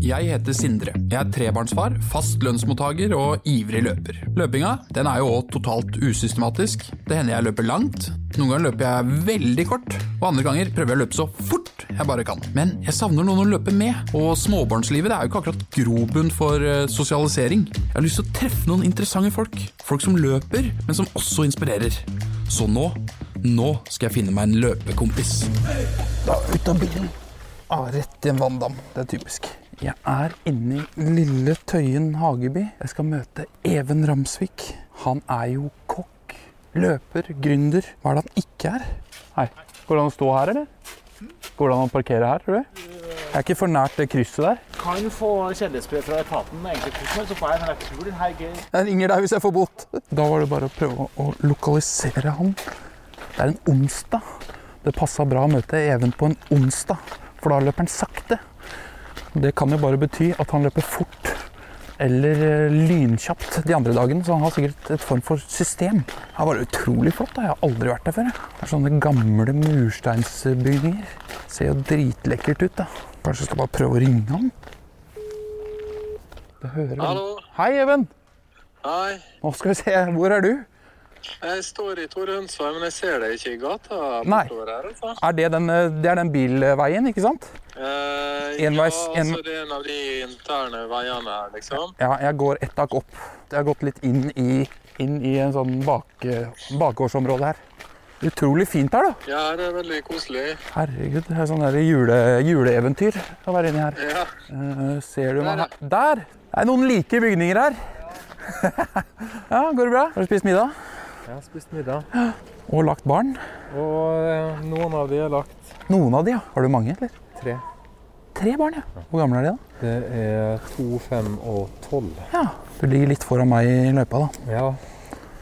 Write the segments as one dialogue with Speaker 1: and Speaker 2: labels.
Speaker 1: Jeg heter Sindre. Jeg er trebarnsfar, fast lønnsmottaker og ivrig løper. Løpinga den er jo også totalt usystematisk. Det hender jeg løper langt. Noen ganger løper jeg veldig kort, og andre ganger prøver jeg å løpe så fort jeg bare kan. Men jeg savner noen å løpe med, og småbarnslivet det er jo ikke akkurat grobunn for eh, sosialisering. Jeg har lyst til å treffe noen interessante folk. Folk som løper, men som også inspirerer. Så nå, nå skal jeg finne meg en løpekompis. Da ut av bilen. Ah, rett i en vanndam. Det er typisk. Jeg er inne i lille Tøyen hageby. Jeg skal møte Even Ramsvik. Han er jo kokk, løper, gründer. Hva er det han ikke er? Hei. Går det an å stå her, eller? Går det an å parkere her, tror du? Jeg er ikke for nært det krysset der.
Speaker 2: kan få kjendisbrev fra etaten, egentlig, hvordan, så får jeg den returen her. gøy.
Speaker 1: Jeg ringer deg hvis jeg får bot. Da var det bare å prøve å lokalisere han. Det er en onsdag. Det passa bra å møte Even på en onsdag, for da løper han sakte. Det kan jo bare bety at han løper fort eller eh, lynkjapt de andre dagene, så han har sikkert et form for system. Her var det utrolig flott. da. Jeg har aldri vært der før. jeg. Det er sånne gamle mursteinsbygninger. Ser jo dritlekkert ut, da. Kanskje jeg skal bare prøve å ringe han? Det hører vel-
Speaker 3: Hallo.
Speaker 1: Hei, Even.
Speaker 3: Hei.
Speaker 1: Nå skal vi se, hvor er du?
Speaker 3: Jeg står i Tore Hønsvei, men jeg ser deg ikke i gata.
Speaker 1: Nei.
Speaker 3: bortover Her, altså.
Speaker 1: Er det, den, eh, det er den bilveien, ikke sant?
Speaker 3: Eh,
Speaker 1: Enveis-
Speaker 3: Ja,
Speaker 1: en-
Speaker 3: altså, det er en av de interne veiene her, liksom.
Speaker 1: Ja, jeg går ett tak opp. Jeg har gått litt inn i, inn i en sånn bak, bakgårdsområde her. Utrolig fint her, da.
Speaker 3: Ja, det er veldig koselig.
Speaker 1: Herregud, det er sånn der jule, juleeventyr å være inni her.
Speaker 3: Ja.
Speaker 1: Eh, ser du meg
Speaker 3: Der,
Speaker 1: her? Der! Det er noen like bygninger her. ja, går det bra? Har du spist middag?
Speaker 4: Jeg har spist middag,
Speaker 1: Og lagt barn?
Speaker 4: og eh, noen av de er lagt.
Speaker 1: Noen av de, ja. Har du mange, eller?
Speaker 4: Tre.
Speaker 1: Tre barn, ja. Hvor gamle er de, da?
Speaker 4: Det er to, fem og tolv.
Speaker 1: Ja. Du ligger litt foran meg i løypa, da.
Speaker 4: Ja.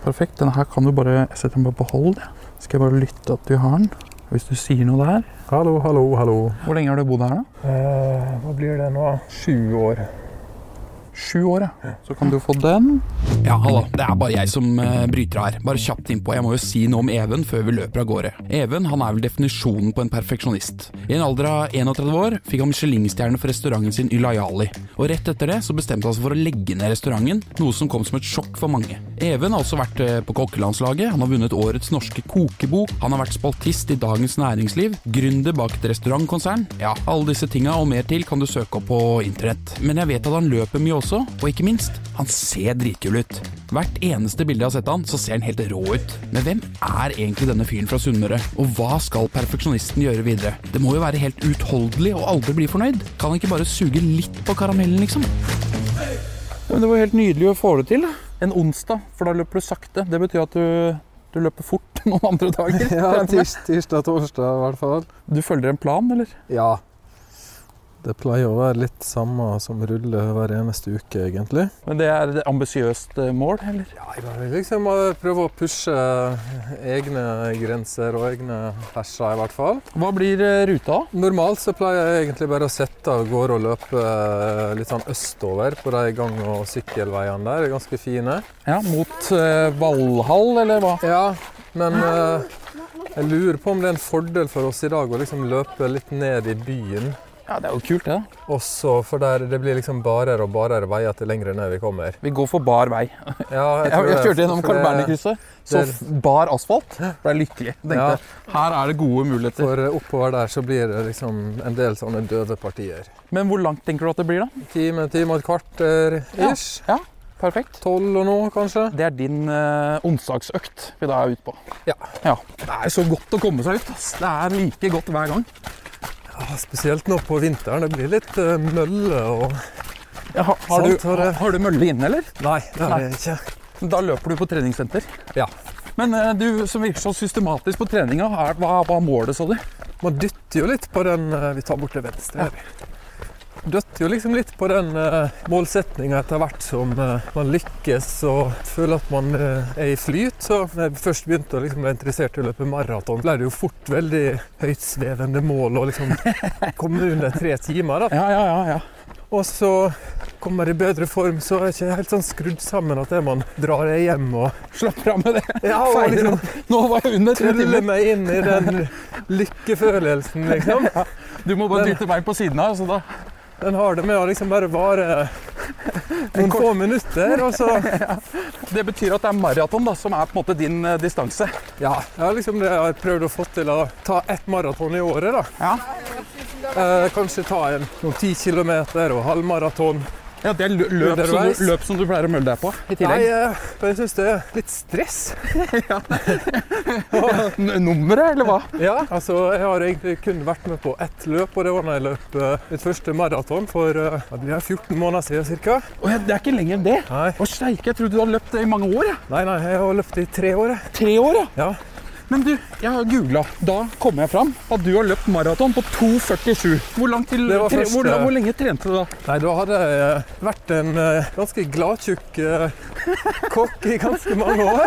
Speaker 1: Perfekt. Den her kan du bare Jeg setter den bare på hold. jeg. Skal jeg bare lytte at du har den? Hvis du sier noe der.
Speaker 4: Hallo, hallo, hallo.
Speaker 1: Hvor lenge har du bodd her, da?
Speaker 4: Eh, hva blir det nå? Sju år.
Speaker 1: Sju år, ja. Så kan du få den. Ja, hallo. Det er bare jeg som eh, bryter av her. Bare kjapt innpå. Jeg må jo si noe om Even før vi løper av gårde. Even han er vel definisjonen på en perfeksjonist. I en alder av 31 år fikk han Michelin-stjerne for restauranten sin Ylayali. Og rett etter det så bestemte han seg for å legge ned restauranten, noe som kom som et sjokk for mange. Even har også vært eh, på kokkelandslaget, han har vunnet årets norske kokebok, han har vært spaltist i Dagens Næringsliv, gründer bak et restaurantkonsern. Ja, alle disse tinga og mer til kan du søke opp på internett. Men jeg vet at han løper mye også, og ikke minst, han ser dritkul ut. Hvert eneste bilde jeg har sett han, så ser han helt rå ut. Men hvem er egentlig denne fyren fra Sunnmøre, og hva skal perfeksjonisten gjøre videre? Det må jo være helt uutholdelig å aldri bli fornøyd. Kan han ikke bare suge litt på karamellen, liksom? Men det var helt nydelig å få det til. En onsdag, for da løper du sakte. Det betyr at du, du løper fort noen andre dager.
Speaker 4: Ja, tirs, tirsdag, torsdag i hvert fall.
Speaker 1: Du følger en plan, eller?
Speaker 4: Ja. Det pleier å være litt samme som ruller hver eneste uke, egentlig.
Speaker 1: Men det er et ambisiøst eh, mål, eller?
Speaker 4: Ja, jeg bare liksom bare prøve å pushe egne grenser og egne perser, i hvert fall.
Speaker 1: Hva blir eh, ruta?
Speaker 4: Normalt så pleier jeg egentlig bare å sette av gårde og løpe eh, litt sånn østover på de gang- og sykkelveiene der. De er ganske fine.
Speaker 1: Ja, Mot eh, Valhall, eller hva?
Speaker 4: Ja, men eh, jeg lurer på om det er en fordel for oss i dag å liksom løpe litt ned i byen.
Speaker 1: Ja, Det er jo kult, det. da.
Speaker 4: Også for der det blir liksom barer og barer veier til lengre ned vi kommer.
Speaker 1: Vi går for bar vei.
Speaker 4: Ja,
Speaker 1: Jeg, jeg
Speaker 4: det,
Speaker 1: kjørte gjennom
Speaker 4: for
Speaker 1: Carl
Speaker 4: det-
Speaker 1: Berner-krysset, så
Speaker 4: det
Speaker 1: f- bar asfalt. Ble lykkelig. Tenkte
Speaker 4: Ja.
Speaker 1: her er det gode muligheter.
Speaker 4: For oppover der så blir det liksom en del sånne døve partier.
Speaker 1: Men hvor langt tenker du at det blir, da?
Speaker 4: Time, time og et kvarter ish.
Speaker 1: Perfekt.
Speaker 4: Tolv og noe, kanskje.
Speaker 1: Det er din eh, onsdagsøkt vi da er ute på.
Speaker 4: Ja.
Speaker 1: Det er så godt å komme seg ut. Ass. Det er like godt hver gang.
Speaker 4: Ja, Spesielt nå på vinteren. Det blir litt eh, mølle og
Speaker 1: har,
Speaker 4: Sant,
Speaker 1: du,
Speaker 4: har
Speaker 1: har,
Speaker 4: det.
Speaker 1: du mølle inne, eller?
Speaker 4: Nei, det er det ikke.
Speaker 1: Da løper du på treningssenter.
Speaker 4: Ja.
Speaker 1: Men eh, du som virker så systematisk på treninga, er, hva, hva målet, så du?
Speaker 4: Man dytter jo litt på den eh, Vi tar bort til venstre. her. Dytter jo liksom litt på den uh, målsetninga etter hvert som eh, man lykkes og føler at man eh, er i flyt. Så da jeg først begynte å liksom være interessert i å løpe maraton, ble det jo fort veldig høytsvevende mål å liksom komme under tre timer. da.
Speaker 1: Ja, ja, ja. ja.
Speaker 4: Og så kommer jeg i bedre form, så er jeg ikke helt sånn skrudd sammen at det man drar det hjem og,
Speaker 1: Slapp av med det.
Speaker 4: ja, og
Speaker 1: Feirer
Speaker 4: liksom,
Speaker 1: opp. Nå var jeg under tre
Speaker 4: truller
Speaker 1: timer.
Speaker 4: meg inn i den lykkefølelsen, liksom.
Speaker 1: Du må bare dytte meg på siden av, så da
Speaker 4: Den har det med å liksom bare vare noen få minutter, og så
Speaker 1: Det betyr at det er maraton da, som er på en måte din eh, distanse.
Speaker 4: Ja, jeg har liksom det jeg har prøvd å få til å ta ett maraton i året, da.
Speaker 1: Ja.
Speaker 4: Eh, kanskje ta en, noen ti kilometer og halvmaraton.
Speaker 1: Ja, Det er løp, som
Speaker 4: Underveis.
Speaker 1: du, løp som du pleier å mølle deg på i
Speaker 4: Nei,
Speaker 1: tillegg.
Speaker 4: eh, men jeg syns det er litt stress.
Speaker 1: N- Nummeret, eller hva?
Speaker 4: Ja, altså jeg har egentlig kun vært med på ett løp, og det var da jeg løp eh, mitt første maraton for eh, det blir 14 måneder siden ca.
Speaker 1: Å, ja, det er ikke lenger enn det.
Speaker 4: Nei.
Speaker 1: Å, steike, jeg trodde du hadde løpt det i mange år. jeg.
Speaker 4: nei, nei, jeg har løpt i tre år, jeg.
Speaker 1: Tre år, ja.
Speaker 4: Ja.
Speaker 1: Men du, jeg har googla. Da kom jeg fram at du har løpt maraton på 2,47. Hvor, langt til,
Speaker 4: Det var
Speaker 1: tre,
Speaker 4: første-
Speaker 1: hvor, hvor lenge trente du da?
Speaker 4: Nei, da hadde jeg eh, vært en eh, ganske gladtjukk eh, kokk i ganske mange år.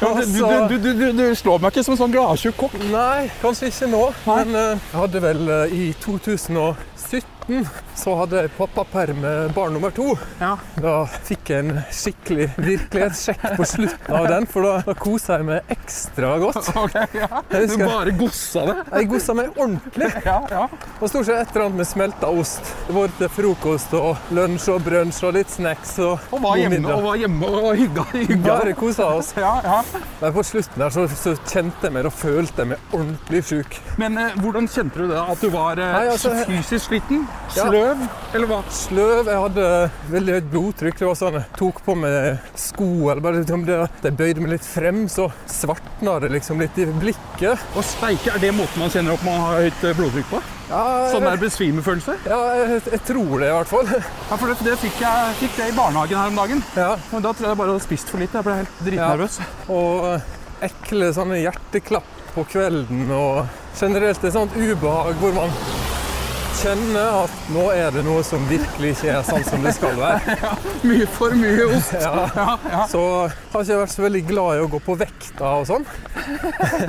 Speaker 1: Du,
Speaker 4: Altså-
Speaker 1: du, du, du, du slår meg ikke som en sånn gladtjukk kokk.
Speaker 4: Nei, kanskje ikke nå.
Speaker 1: Nei.
Speaker 4: Men eh, jeg hadde vel eh, i 2017 så hadde jeg pappaperm med barn nummer to.
Speaker 1: Ja.
Speaker 4: Da fikk jeg en skikkelig virkelighetssjekk på slutten av den, for da, da kosa jeg meg ekstra godt. Jeg
Speaker 1: Du
Speaker 4: husker
Speaker 1: bare gossa det.
Speaker 4: jeg gosa meg ordentlig.
Speaker 1: Ja, ja.
Speaker 4: Og stort sett et eller annet med smelta ost. Det var til frokost og lunsj og brunsj og litt snacks og
Speaker 1: Og var
Speaker 4: god
Speaker 1: hjemme
Speaker 4: middag.
Speaker 1: og, var hjemme og hygga. hygga.
Speaker 4: Bare kosa oss.
Speaker 1: Ja, ja.
Speaker 4: Men på slutten der så, så kjente jeg meg, da følte jeg meg ordentlig sjuk.
Speaker 1: Men eh, hvordan kjente du det? At du var eh,
Speaker 4: Nei, altså, jeg-
Speaker 1: fysisk sliten?
Speaker 4: Ja.
Speaker 1: Sløv? Eller hva?
Speaker 4: sløv. Jeg hadde veldig høyt blodtrykk. Det var sånn, jeg tok på meg sko eller bare liksom det at jeg bøyde meg litt frem, så svartna det liksom litt i blikket.
Speaker 1: Å steike, er det måten man kjenner at man har høyt eh, blodtrykk på?
Speaker 4: Ja, jeg,
Speaker 1: Sånn der besvimefølelse?
Speaker 4: ja, jeg, jeg tror det i hvert fall.
Speaker 1: Ja, for det, det fikk jeg fikk det i barnehagen her om dagen.
Speaker 4: Ja,
Speaker 1: Men da tror jeg bare jeg hadde spist for lite. Jeg ble helt dritnervøs.
Speaker 4: og eh, ekle sånne hjerteklapp på kvelden og generelt et sånt ubehag hvor man kjenner at nå er det noe som virkelig ikke er sånn som det skal være.
Speaker 1: Mye for mye ost.
Speaker 4: Ja.
Speaker 1: Ja, ja.
Speaker 4: Så har ikke jeg vært så veldig glad i å gå på vekta og sånn.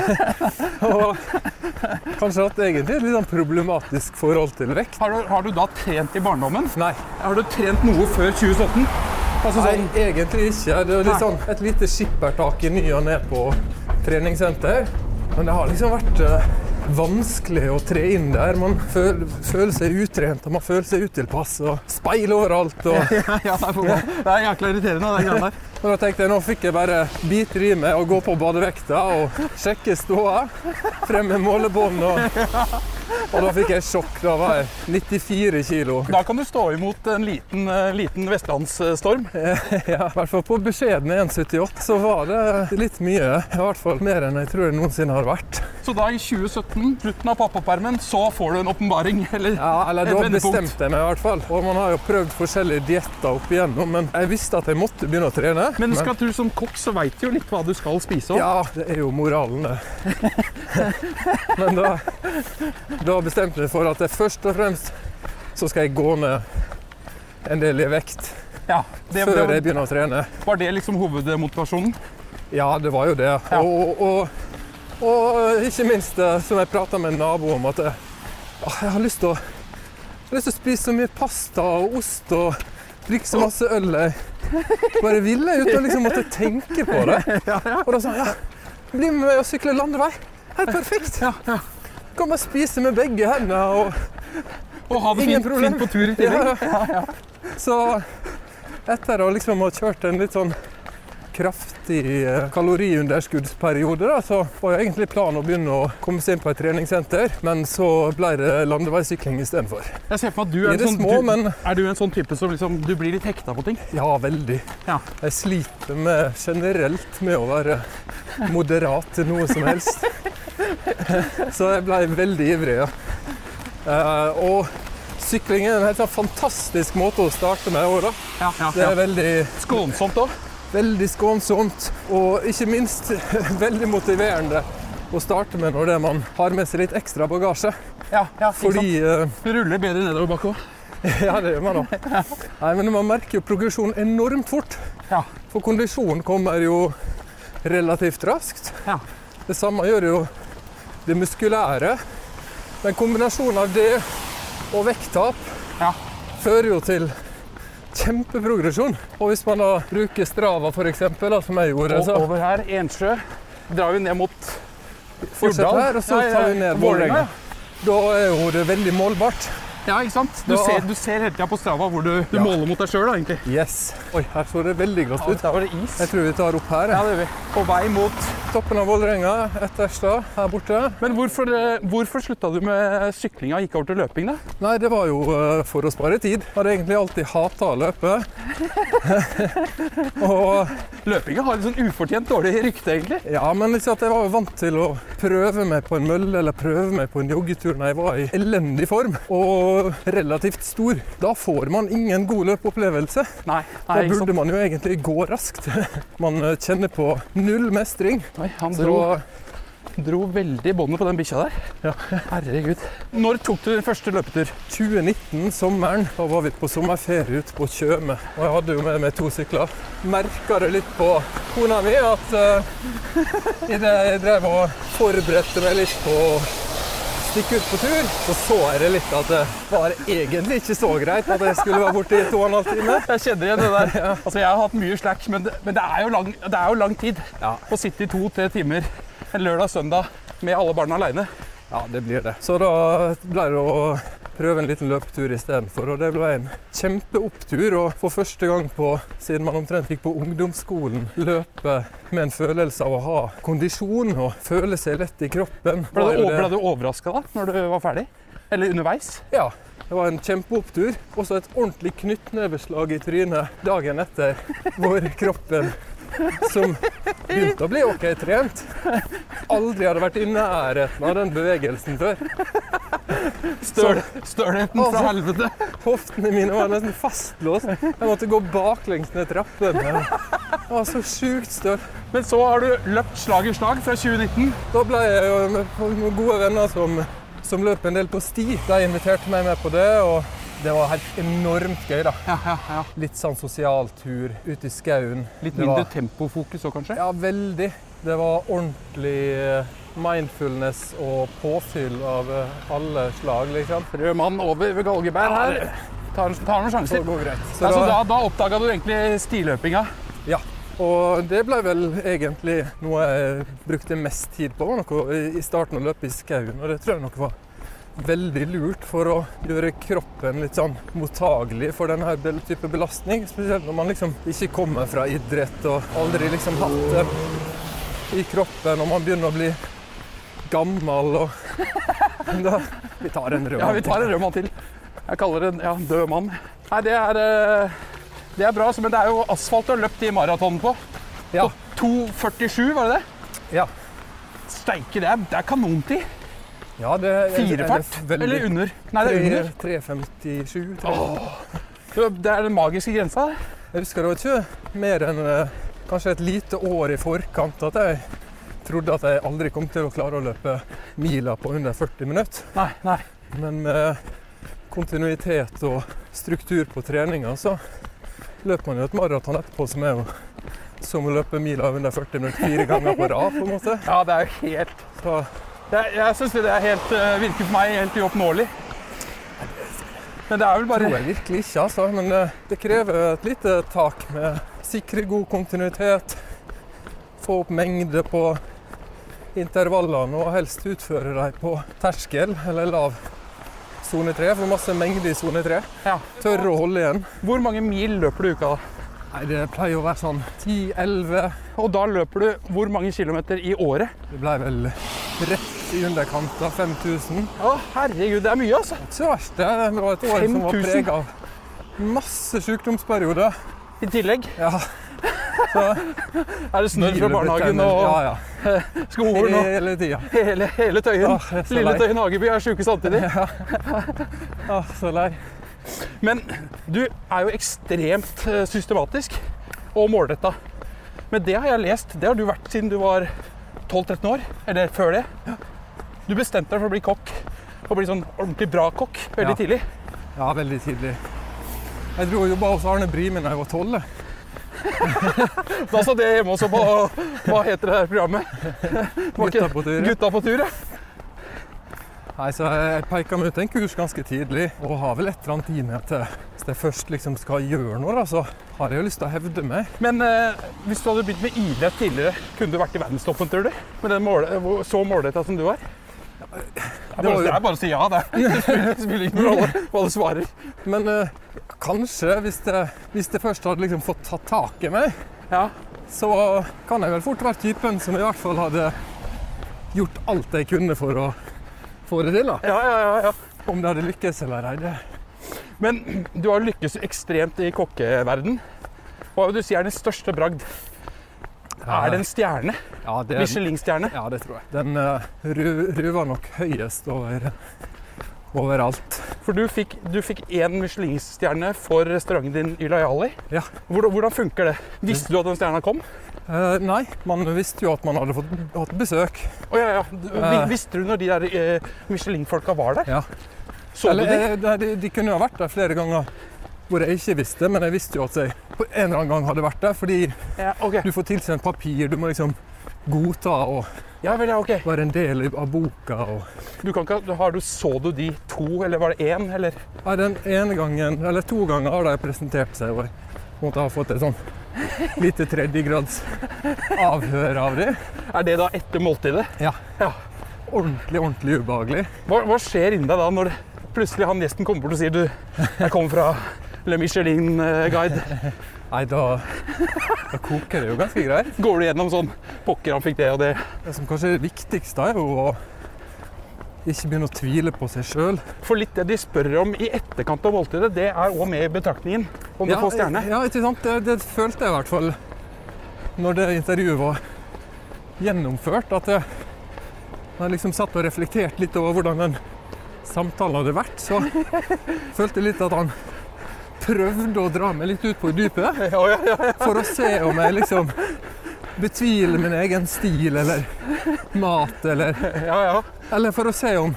Speaker 4: og kanskje hatt egentlig et litt sånn problematisk forhold til vekt.
Speaker 1: Har, du, har du da trent i barndommen?
Speaker 4: Nei,
Speaker 1: Har du trent noe før 2017? Altså
Speaker 4: nei,
Speaker 1: sånn
Speaker 4: egentlig ikke. Det er litt sånn et lite skippertak i ny og ne på treningssenter. Men det har liksom vært eh, vanskelig å tre inn der. Man føl, føler seg utrent, og man føler seg utilpass, og speil overalt. Og,
Speaker 1: ja, ja, det er for- det er jækla irriterende, det greiene der.
Speaker 4: og da tenkte jeg nå fikk jeg bare bite det i meg og gå på badevekta og sjekke ståa. Frem med målebånd og Og da fikk jeg sjokk. Da var jeg 94 kilo.
Speaker 1: Da kan du stå imot en liten, eh, liten vestlandsstorm.
Speaker 4: Ja, I hvert fall på beskjedne 1,78 så var det litt mye. I hvert fall mer enn jeg tror det noensinne har vært.
Speaker 1: Så da i 2017, slutten av pappapermen, så får du en åpenbaring, eller?
Speaker 4: Ja, eller
Speaker 1: Et
Speaker 4: Da
Speaker 1: vendepunkt.
Speaker 4: bestemte jeg meg i hvert fall. Og man har jo prøvd forskjellige dietter opp igjennom, men jeg visste at jeg måtte begynne å trene.
Speaker 1: Men du skal tro som kokk, så veit du jo litt hva du skal spise òg.
Speaker 4: Ja, det er jo moralen, det. men da, da bestemte jeg meg for at jeg først og fremst så skal jeg gå ned en del i vekt
Speaker 1: Ja, det,
Speaker 4: før
Speaker 1: det,
Speaker 4: jeg begynner å trene.
Speaker 1: var det liksom hovedmotivasjonen?
Speaker 4: Ja, det var jo det.
Speaker 1: Ja.
Speaker 4: Og, og, og ikke minst eh, som jeg prata med en nabo om, at jeg, ah, jeg har lyst til å jeg har lyst til å spise så mye pasta og ost og drikke så masse øl jeg bare ville, uten å liksom måtte tenke på det. Og da sa han ja, bli med meg og sykle landevei. Helt perfekt. Kan bare spise med begge hendene. Og,
Speaker 1: Å ha det
Speaker 4: Ingen
Speaker 1: fint,
Speaker 4: problem.
Speaker 1: fint på tur i
Speaker 4: ja,
Speaker 1: tillegg?
Speaker 4: ja. Så etter å liksom ha kjørt en litt sånn kraftig eh, kaloriunderskuddsperiode, da, så var jo egentlig planen å begynne å komme seg inn på et treningssenter, men så ble det landeveissykling istedenfor.
Speaker 1: Jeg ser for meg at du
Speaker 4: I
Speaker 1: er,
Speaker 4: det
Speaker 1: en sånn,
Speaker 4: små,
Speaker 1: du,
Speaker 4: men
Speaker 1: er du en sånn type som liksom Du blir litt hekta på ting?
Speaker 4: ja, veldig.
Speaker 1: Ja.
Speaker 4: Jeg sliter med, generelt med å være moderat til noe som helst. Så jeg ble veldig ivrig, ja. Eh, og sykling er en helt sånn fantastisk måte å starte med året.
Speaker 1: Ja, ja,
Speaker 4: Det er veldig
Speaker 1: Skånsomt òg?
Speaker 4: Veldig skånsomt, og ikke minst veldig motiverende å starte med når det er man har med seg litt ekstra bagasje.
Speaker 1: Ja, ja, Fordi
Speaker 4: Fordi eh,
Speaker 1: Du ruller bedre nedover bakke òg.
Speaker 4: Ja, det gjør man da. Nei, men man merker jo progresjonen enormt fort.
Speaker 1: Ja.
Speaker 4: For kondisjonen kommer jo relativt raskt.
Speaker 1: Ja.
Speaker 4: Det samme gjør jo det muskulære. Men kombinasjonen av det og vekttap
Speaker 1: Ja.
Speaker 4: fører jo til kjempeprogresjon. Og hvis man da bruker Strava f.eks., som jeg gjorde,
Speaker 1: Og
Speaker 4: så
Speaker 1: over her, Ensjø, drar vi ned mot
Speaker 4: fortsetter her, og så
Speaker 1: Ja, ja,
Speaker 4: tar vi ned Vålerenga. Da er jo det veldig målbart.
Speaker 1: Ja, ikke sant? Du
Speaker 4: Ja.
Speaker 1: ser, du ser hele tida på Strava hvor du, du
Speaker 4: Ja.
Speaker 1: måler mot deg sjøl, egentlig.
Speaker 4: Yes. Oi, her så det veldig godt ut.
Speaker 1: Der var det is.
Speaker 4: Jeg tror vi tar opp her.
Speaker 1: Ja,
Speaker 4: jeg.
Speaker 1: det gjør vi. På vei mot
Speaker 4: Toppen av Vålerenga, Etterstad, her borte.
Speaker 1: Men hvorfor, eh, hvorfor slutta du med syklinga og gikk over til løping, da?
Speaker 4: Nei, det var jo eh, for å spare tid. Jeg hadde egentlig alltid hata å løpe. og
Speaker 1: Løpinga har litt sånn ufortjent dårlig rykte, egentlig.
Speaker 4: Ja, men liksom at jeg var jo vant til å prøve meg på en mølle eller prøve meg på en joggetur når jeg var i elendig form og relativt stor. Da får man ingen god løpeopplevelse.
Speaker 1: Nei, nei
Speaker 4: Da
Speaker 1: ikke sant.
Speaker 4: burde man jo egentlig gå raskt. Man eh, kjenner på null mestring.
Speaker 1: Oi, han
Speaker 4: Så
Speaker 1: dro, dro veldig i båndet på den bikkja der. Herregud. Når tok du din første løpetur?
Speaker 4: 2019, sommeren, da var vi på sommerferie ute på Tjøme. Og jeg hadde jo med meg to sykler. Merka det litt på kona mi at uh, idet jeg drev og forberedte meg litt på å stikke ut på tur, så så jeg det litt at det var egentlig ikke så greit at jeg skulle være borte i to og en halv time.
Speaker 1: Jeg kjenner igjen det der. Altså, jeg har hatt mye slack, men, det- men det, er jo lang, det er jo lang tid
Speaker 4: Ja.
Speaker 1: å sitte i to-tre timer en lørdag-søndag med alle barna aleine.
Speaker 4: Ja, det blir det. Så da ble det å prøve en liten løpetur istedenfor. Og det ble en kjempeopptur. Og for første gang på, siden man omtrent gikk på ungdomsskolen, løpe med en følelse av å ha kondisjon og føle seg lett i kroppen.
Speaker 1: Ble
Speaker 4: Var
Speaker 1: du,
Speaker 4: jo
Speaker 1: ble du overraska da når du var ferdig? Eller underveis?
Speaker 4: Ja. Det var en kjempeopptur. Også et ordentlig knyttneveslag i trynet dagen etter, hvor kroppen som begynte å bli OK trent, aldri hadde vært i nærheten av den bevegelsen før.
Speaker 1: Støl, stølheten fra
Speaker 4: Altså.
Speaker 1: helvete.
Speaker 4: Hoftene mine var nesten fastlåst. Jeg måtte gå baklengs ned trappen. Det var så sjukt støl.
Speaker 1: Men så har du løpt slag i slag fra 2019.
Speaker 4: Da ble jeg jo med noen gode venner som, som løp en del på sti. De inviterte meg med på det, og det var helt enormt gøy. da.
Speaker 1: Ja, ja, ja.
Speaker 4: Litt sånn sosial tur ute i skauen.
Speaker 1: Litt
Speaker 4: Det var-
Speaker 1: mindre tempofokus òg, kanskje?
Speaker 4: Ja, veldig. Det var ordentlig eh, mindfulness og påfyll av eh, alle slag, liksom.
Speaker 1: Rød mann over ved Galgeberg her. Tar, tar noen
Speaker 4: Så
Speaker 1: sjanser.
Speaker 4: det går greit. Så
Speaker 1: Ja, så da
Speaker 4: da,
Speaker 1: da oppdaga du egentlig stiløpinga.
Speaker 4: ja. Og det ble vel egentlig noe jeg brukte mest tid på, var noe i- i starten å løpe i skauen. Og det tror jeg nok var veldig lurt for å gjøre kroppen litt sånn mottagelig for denne type belastning. Spesielt når man liksom ikke kommer fra idrett og aldri liksom hatt det i kroppen, og man begynner å bli gammel og da, Vi tar en rød.
Speaker 1: Ja, vi tar en rød mann til. Jeg kaller det en ja, død mann. Nei, det er, eh, det er bra, altså, men det er jo asfalt du har løpt de maratonene på.
Speaker 4: Ja.
Speaker 1: På 2,47, var det det?
Speaker 4: Ja.
Speaker 1: Steike, det er, det er kanontid.
Speaker 4: Ja, det er-
Speaker 1: Firefart
Speaker 4: det er veldig-
Speaker 1: eller under. Nei, det er under.
Speaker 4: 3.57. tror jeg.
Speaker 1: Jo, Det er den magiske grensa. det.
Speaker 4: Jeg husker det var ikke mer enn eh, kanskje et lite år i forkant at jeg trodde at jeg aldri kom til å klare å løpe mila på under 40 minutter.
Speaker 1: Nei, nei.
Speaker 4: Men med kontinuitet og struktur på treninga, så løper man jo et maraton etterpå som er jo som å løpe mila under 40 minutter fire ganger på rad, på en måte.
Speaker 1: Ja, det er jo helt
Speaker 4: Så
Speaker 1: Jeg, jeg syns det er helt, eh, virker for meg helt uoppnåelig. Men det er vel bare
Speaker 4: tror jeg virkelig ikke, altså. Men eh, det krever et lite tak med sikre god kontinuitet, få opp mengde på intervallene og helst utføre dem på terskel eller lav sone 3, for masse mengde i sone 3.
Speaker 1: ja.
Speaker 4: Tørre å holde igjen.
Speaker 1: Hvor mange mil løper du i uka, da?
Speaker 4: Nei, det pleier å være sånn 10-11.
Speaker 1: Og da løper du hvor mange kilometer i året?
Speaker 4: Det ble vel rett i underkant av 5000.
Speaker 1: Å, herregud, det er mye, altså.
Speaker 4: Ikke så verst, det. Det var et år som var
Speaker 1: 5000?
Speaker 4: prega av masse sykdomsperioder.
Speaker 1: I tillegg
Speaker 4: Ja. Så,
Speaker 1: er det snørr fra barnehagen og
Speaker 4: Ja, ja.
Speaker 1: skolen og
Speaker 4: Hele tida.
Speaker 1: hele, hele Tøyen.
Speaker 4: Åh, jeg er så
Speaker 1: Lille
Speaker 4: lei.
Speaker 1: Tøyen Hageby er sjuke samtidig.
Speaker 4: Å,
Speaker 1: Ah,
Speaker 4: så lei.
Speaker 1: Men du er jo ekstremt eh, systematisk og målretta. Men det har jeg lest. Det har du vært siden du var 12-13 år. Eller før det. Du bestemte deg for å bli kokk. Og bli sånn ordentlig bra kokk veldig
Speaker 4: Ja.
Speaker 1: tidlig.
Speaker 4: Ja, veldig tidlig. Jeg dro og jobba hos Arne Brimi da jeg var tolv. jeg.
Speaker 1: Da satt jeg hjemme også på Hva heter det her programmet? Det var ikke-
Speaker 4: Gutta på tur, ja.
Speaker 1: Gutta på tur, ja.
Speaker 4: Nei, så jeg jeg peika meg ut en kurs ganske tidlig, og har vel et eller annet i meg at eh, hvis jeg først liksom skal gjøre noe, da, så har jeg jo lyst til å hevde meg.
Speaker 1: Men eh, hvis du hadde begynt med idrett tidligere, kunne du vært i verdenstoppen, tror du? Med den mål eh, hvor- så målretta som du er?
Speaker 4: Det var jo-
Speaker 1: Jeg bare sier ja, det. Det spiller ingen rolle hva du svarer.
Speaker 4: Men eh, kanskje, hvis det, hvis det først hadde liksom fått tatt tak i meg,
Speaker 1: Ja.
Speaker 4: så kan jeg vel fort være typen som i hvert fall hadde gjort alt jeg kunne for å få det til. da.
Speaker 1: Ja, ja, ja, ja.
Speaker 4: Om det hadde lykkes eller ei. det-
Speaker 1: Men du har lykkes ekstremt i kokkeverden. Hva vil du si er den største bragd? Er det en stjerne?
Speaker 4: Ja, det,
Speaker 1: Michelin-stjerne?
Speaker 4: ja, det tror jeg. Den uh, ruver nok høyest over overalt.
Speaker 1: For du fikk, du fikk én Michelin-stjerne for restauranten din i Loyali.
Speaker 4: Ja.
Speaker 1: Hvordan, hvordan funker det? Visste du at den stjerna kom?
Speaker 4: Eh, nei, man visste jo at man hadde fått hatt besøk.
Speaker 1: Å ja, ja. Du, vi,
Speaker 4: Eh.
Speaker 1: visste du når de der eh, Michelin-folka var der?
Speaker 4: Ja.
Speaker 1: Så
Speaker 4: Eller,
Speaker 1: du dem?
Speaker 4: eh, nei, de, de kunne jo ha vært der flere ganger hvor jeg ikke visste, men jeg visste jo at jeg på en eller annen gang hadde vært der, fordi
Speaker 1: Ja, ok.
Speaker 4: du får tilsendt papir, du må liksom godta å
Speaker 1: Ja, vel, ja, ok.
Speaker 4: være en del av boka. Og...
Speaker 1: Du kan ikke, ha- har du, så du de to, eller var det én? Eller?
Speaker 4: Nei, den ene gangen, eller to ganger har de presentert seg, og jeg måtte ha fått et sånn lite tredjegrads avhør av dem.
Speaker 1: Er det da etter måltidet?
Speaker 4: Ordentlig, ordentlig ubehagelig.
Speaker 1: Hva, hva skjer inni deg da når plutselig han gjesten kommer bort og sier du, jeg kommer fra Le eh, Michelin-guide?
Speaker 4: Nei, da, da koker det jo ganske greit.
Speaker 1: Går du gjennom sånn Pokker, han fikk det og det.
Speaker 4: Det som kanskje er det viktigste, er jo å ikke begynne å tvile på seg sjøl.
Speaker 1: For litt det de spør om i etterkant av måltidet, det er òg med i betraktningen. Om du får stjerne.
Speaker 4: Ja, ikke sant? Det, det følte jeg i hvert fall når det intervjuet var gjennomført. At jeg, når jeg liksom satt og reflekterte litt over hvordan den samtalen hadde vært, så følte jeg litt at han prøvde å dra meg litt ut på dypet
Speaker 1: Ja, ja, ja.
Speaker 4: for å se om jeg liksom betviler min egen stil eller mat eller
Speaker 1: ja, ja.
Speaker 4: Eller for å se om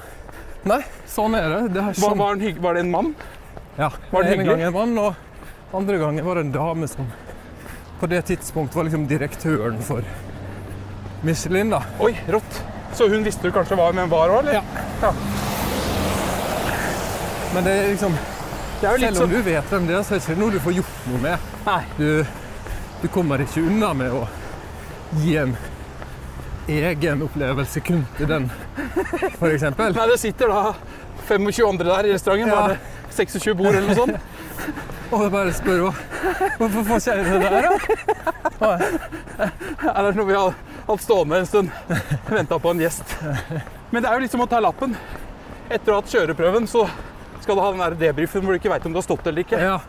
Speaker 4: Nei, sånn er det. Det er
Speaker 1: Var,
Speaker 4: sånn.
Speaker 1: var, han hygg, var det en mann?
Speaker 4: Ja,
Speaker 1: Var det
Speaker 4: ene
Speaker 1: hyggelig?
Speaker 4: gangen en mann, og andre gangen var det en dame som på det tidspunktet var liksom direktøren for Michelin, da.
Speaker 1: Oi, rått. Så hun visste du kanskje hva hvem var òg, eller?
Speaker 4: Ja. Men det er liksom,
Speaker 1: Det er jo litt
Speaker 4: selv om
Speaker 1: sånn
Speaker 4: du vet hvem det er, så er det ikke noe du får gjort noe med.
Speaker 1: Nei.
Speaker 4: Du, du kommer ikke unna med å gi en egen opplevelse kun til den, for eksempel.
Speaker 1: Nei, det sitter da 25 andre der i restauranten.
Speaker 4: Ja.
Speaker 1: Bare 26 bord eller noe sånt.
Speaker 4: Og jeg bare spør hva- hvorfor får ikke jeg det der, da?
Speaker 1: Eller når vi har hatt stående en stund. Venta på en gjest. Men det er jo litt som å ta lappen. Etter å ha hatt kjøreprøven, så skal du ha den der debrifen hvor du ikke veit om du har stått eller ikke.
Speaker 4: Ja,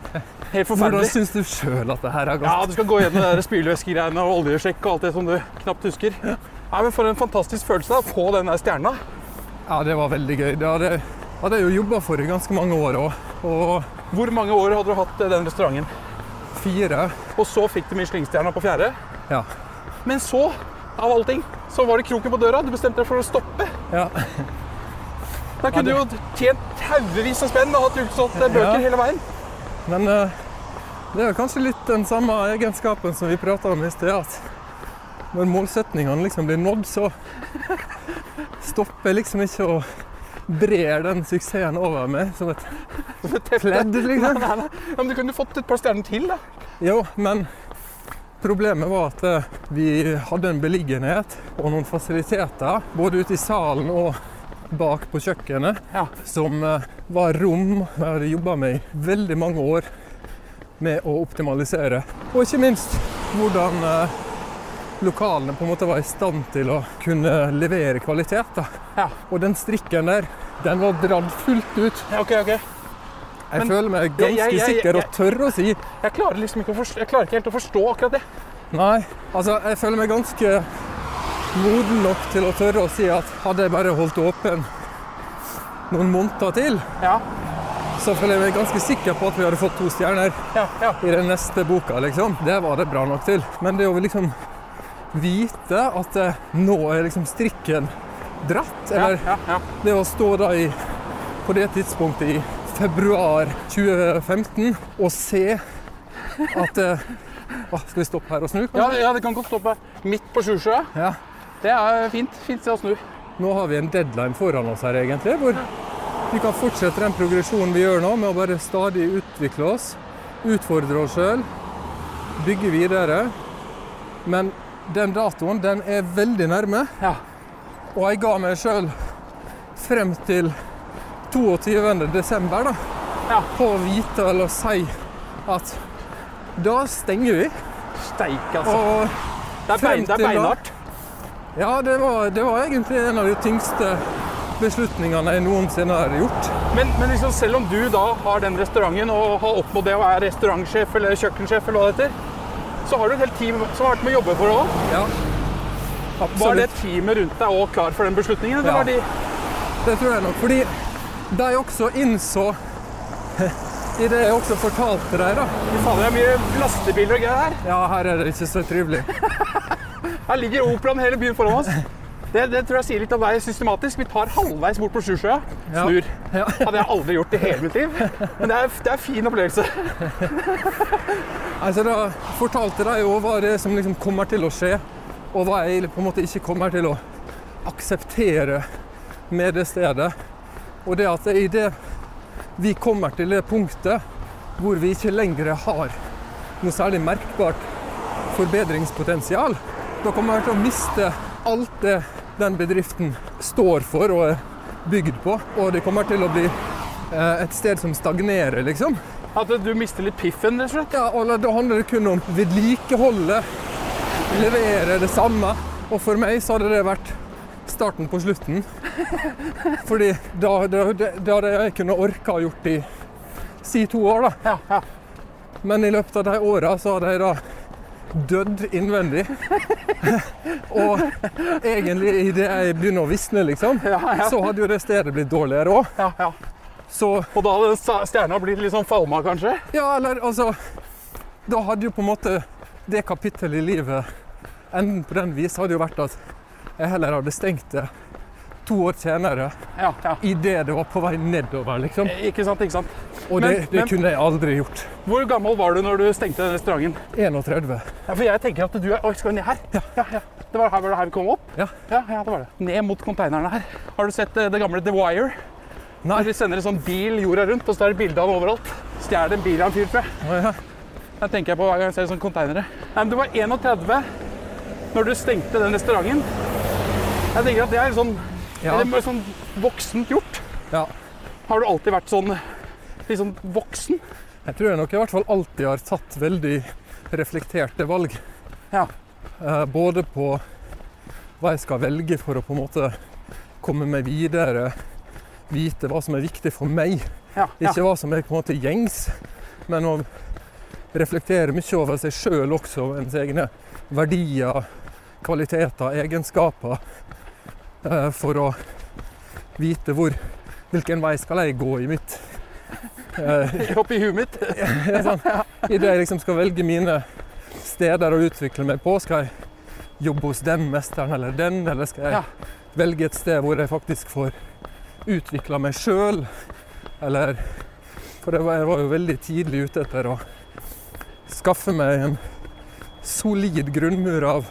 Speaker 1: Helt
Speaker 4: hvordan
Speaker 1: forferdelig.
Speaker 4: syns du sjøl at det her er
Speaker 1: Ja,
Speaker 4: godt?
Speaker 1: du skal gå gjennom det der spylevæskegreiene og oljesjekk og alt det som du knapt husker. Nei, men For en fantastisk følelse da, å få den der stjerna.
Speaker 4: Ja, det var veldig gøy. Det hadde, hadde jeg jo jobba for i ganske mange år òg. Og
Speaker 1: Hvor mange år hadde du hatt eh, den restauranten?
Speaker 4: fire
Speaker 1: Og så fikk du Michelin-stjerna på fjerde.
Speaker 4: Ja.
Speaker 1: Men så, av alle ting, så var det kroken på døra. Du bestemte deg for å stoppe.
Speaker 4: ja.
Speaker 1: Da kunne du jo tjent haugevis av spenn og hatt utsolgt eh, bøker
Speaker 4: Ja.
Speaker 1: hele veien.
Speaker 4: Men eh, det er jo kanskje litt den samme egenskapen som vi prata om i sted. At når målsetningene liksom blir nådd, så stopper jeg liksom ikke å brer den suksessen over meg som et pledd, liksom.
Speaker 1: Nei, nei. Ja, men du kunne fått et par stjerner til, da.
Speaker 4: Jo, men problemet var at eh, vi hadde en beliggenhet og noen fasiliteter, både ute i salen og bak på kjøkkenet,
Speaker 1: Ja.
Speaker 4: som eh, var rom jeg hadde jobba med i veldig mange år med å optimalisere. Og ikke minst hvordan eh, lokalene på en måte var i stand til å kunne levere kvalitet. Da.
Speaker 1: Ja.
Speaker 4: Og den strikken der, den var dratt fullt ut.
Speaker 1: Ja, ok, ok.
Speaker 4: Jeg
Speaker 1: Men-
Speaker 4: føler meg ganske
Speaker 1: Jeg- jeg- jeg- jeg-
Speaker 4: sikker og tør å si
Speaker 1: Jeg klarer liksom ikke, å forstå, jeg klarer ikke helt å forstå akkurat det.
Speaker 4: Nei, altså jeg føler meg ganske moden nok til å tørre å si at hadde jeg bare holdt åpen noen måneder til,
Speaker 1: Ja,
Speaker 4: så føler jeg meg ganske sikker på at vi hadde fått to stjerner
Speaker 1: ja, ja.
Speaker 4: i den neste boka, liksom. Det var det bra nok til. Men det å liksom vite at eh, nå er liksom strikken dratt,
Speaker 1: Ja,
Speaker 4: eller
Speaker 1: ja, ja.
Speaker 4: det å stå da i, på det tidspunktet i februar 2015 og se at eh, å, Skal vi stoppe her og snu,
Speaker 1: ja,
Speaker 4: kanskje?
Speaker 1: ja det kan godt stoppe midt på Sjusjøa.
Speaker 4: Ja.
Speaker 1: Det er fint. Fint sted å snu.
Speaker 4: Nå har vi en deadline foran oss her, egentlig, hvor vi kan fortsette den progresjonen vi gjør nå, med å bare stadig utvikle oss, utfordre oss sjøl, bygge videre. Men den datoen, den er veldig nærme,
Speaker 1: Ja.
Speaker 4: og jeg ga meg sjøl frem til 22. desember da,
Speaker 1: Ja.
Speaker 4: på å vite eller si at da stenger vi.
Speaker 1: Steike, altså.
Speaker 4: Og
Speaker 1: Det er, bein,
Speaker 4: frem
Speaker 1: det er
Speaker 4: til da-
Speaker 1: beinhardt.
Speaker 4: ja, det var, det var egentlig en av de tyngste beslutningene jeg noensinne har gjort.
Speaker 1: Men, men liksom, selv om du da har den restauranten og har oppnådd det og er restaurantsjef eller kjøkkensjef, eller hva det heter, så har du et helt team som har vært med å jobbe for det òg.
Speaker 4: Ja,
Speaker 1: Var det
Speaker 4: absolutt.
Speaker 1: teamet rundt deg òg klar for den beslutningen? Eller
Speaker 4: Ja.
Speaker 1: var de
Speaker 4: Det tror jeg nok, fordi de også innså i det jeg også fortalte deg da.
Speaker 1: Fy fader, det er mye lastebiler og greier her.
Speaker 4: Ja, her er det ikke så trivelig.
Speaker 1: Her ligger operaen hele byen foran oss. Det, det tror jeg sier litt om deg systematisk. Vi tar halvveis bort på Sjusjøa.
Speaker 4: Ja.
Speaker 1: Snur.
Speaker 4: Ja.
Speaker 1: Hadde jeg aldri gjort i hele mitt liv. Men det er, det er en fin opplevelse.
Speaker 4: Altså, da fortalte de jo hva det er som liksom kommer til å skje, og hva jeg på en måte ikke kommer til å akseptere med det stedet. Og det at i det vi kommer til det punktet hvor vi ikke lenger har noe særlig merkbart forbedringspotensial, da kommer vi til å miste alt det den bedriften står for og er bygd på. Og det kommer til å bli eh, et sted som stagnerer, liksom.
Speaker 1: At du mister litt piffen, rett og slett.
Speaker 4: Ja, og da handler det kun om vedlikeholdet, levere det samme. Og for meg så hadde det vært starten på slutten. Fordi da, da, da hadde jeg kunne orka å gjort i si to år, da.
Speaker 1: Ja, ja.
Speaker 4: Men i løpet av de åra så hadde jeg da dødd innvendig. Og egentlig idet jeg begynner å visne, liksom,
Speaker 1: Ja, ja.
Speaker 4: så hadde jo det stedet blitt dårligere òg.
Speaker 1: ja, ja.
Speaker 4: Så
Speaker 1: Og da hadde sa- stjerna blitt litt sånn falma, kanskje?
Speaker 4: Ja, eller altså Da hadde jo på en måte det kapittelet i livet Enden på den vis hadde jo vært at jeg heller hadde stengt det to år senere
Speaker 1: Ja, ja.
Speaker 4: idet det var på vei nedover, liksom.
Speaker 1: Ikke sant, ikke sant.
Speaker 4: Og det,
Speaker 1: Eh, Men-
Speaker 4: det
Speaker 1: men-
Speaker 4: kunne jeg aldri gjort.
Speaker 1: Hvor gammel var du når du stengte den restauranten?
Speaker 4: 31.
Speaker 1: Ja, for jeg tenker at du er Oi, skal vi ned her? Ja, ja. Det var her, var det her vi kom opp?
Speaker 4: Ja.
Speaker 1: ja. ja, det var det. Ned mot konteinerne her. Har du sett eh, det gamle The Wire?
Speaker 4: Nei.
Speaker 1: De sender en sånn bil jorda rundt, og så er det bilde av han overalt. Stjeler en bil av en fyr, tror jeg.
Speaker 4: Å ja.
Speaker 1: Det tenker jeg på hver gang jeg ser sånne konteinere. Nei, men du var 31 når du stengte den restauranten. Jeg tenker at det er sånn,
Speaker 4: Ja.
Speaker 1: det er sånn voksent gjort.
Speaker 4: ja.
Speaker 1: Har du alltid vært sånn litt sånn voksen?
Speaker 4: Jeg tror jeg nok i hvert fall alltid har tatt veldig reflekterte valg.
Speaker 1: Ja.
Speaker 4: Eh, både på hva jeg skal velge for å på en måte komme meg videre, vite hva som er viktig for meg.
Speaker 1: Ja. ja.
Speaker 4: Ikke hva som er på en måte gjengs, men å reflektere mye over seg sjøl også, og ens egne verdier, kvaliteter, egenskaper. eh, For å vite hvor, hvilken vei skal jeg gå i mitt eh,
Speaker 1: Oppi huet mitt.
Speaker 4: ja, sånn. Idet jeg liksom skal velge mine steder å utvikle meg på, skal jeg jobbe hos den mesteren eller den, eller skal jeg
Speaker 1: Ja.
Speaker 4: velge et sted hvor jeg faktisk får utvikla meg sjøl, eller For jeg var, jeg var jo veldig tidlig ute etter å skaffe meg en solid grunnmur av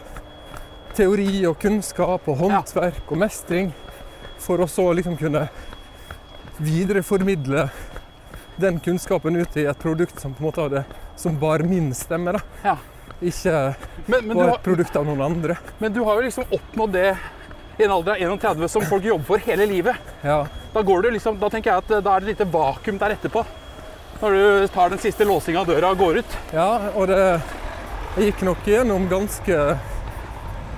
Speaker 4: teori og kunnskap og
Speaker 1: Ja.
Speaker 4: håndverk og mestring, for å så liksom kunne videreformidle den kunnskapen ut i et produkt som på en måte hadde som bar min stemme. da.
Speaker 1: Ja.
Speaker 4: Ikke
Speaker 1: Men, men, du
Speaker 4: var et
Speaker 1: har,
Speaker 4: produkt av noen andre.
Speaker 1: men du har jo liksom oppnådd det i en alder av 31 som folk jobber for hele livet.
Speaker 4: Ja,
Speaker 1: Da, går det liksom, da tenker jeg at eh, da er det et lite vakuum der etterpå. Når du tar den siste låsinga av døra og går ut.
Speaker 4: ja og det jeg gikk nok gjennom ganske,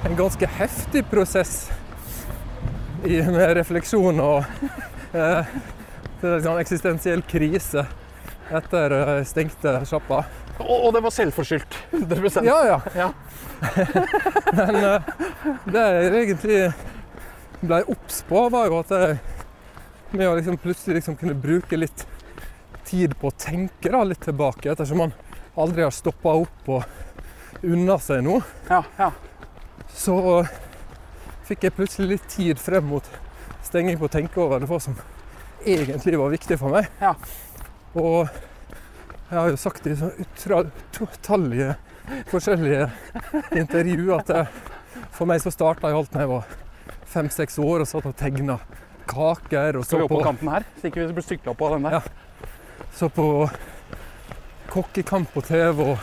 Speaker 4: en ganske heftig prosess i, med refleksjon og eh, det er en sånn eksistensiell krise etter eh, jeg stengte sjappa.
Speaker 1: Og, og det var selvforskyldt. 100
Speaker 4: Ja, ja.
Speaker 1: Ja.
Speaker 4: Men eh, det jeg egentlig ble obs på, var jo at jeg med å liksom plutselig liksom kunne bruke litt tid på å tenke da, litt tilbake, ettersom man aldri har stoppa opp og unna seg noe,
Speaker 1: Ja, ja.
Speaker 4: så fikk jeg plutselig litt tid frem mot stenging på å tenke over det, hva som egentlig var viktig for meg.
Speaker 1: Ja.
Speaker 4: Og jeg har jo sagt i så utra- utallige forskjellige intervjuer at jeg, for meg så starta jo alt da jeg var fem-seks år og satt og tegna kaker
Speaker 1: Skal
Speaker 4: og så
Speaker 1: vi opp
Speaker 4: på,
Speaker 1: på kanten her? Så ikke vi blir stykla opp av den der.
Speaker 4: Ja. så på kokkekamp på TV og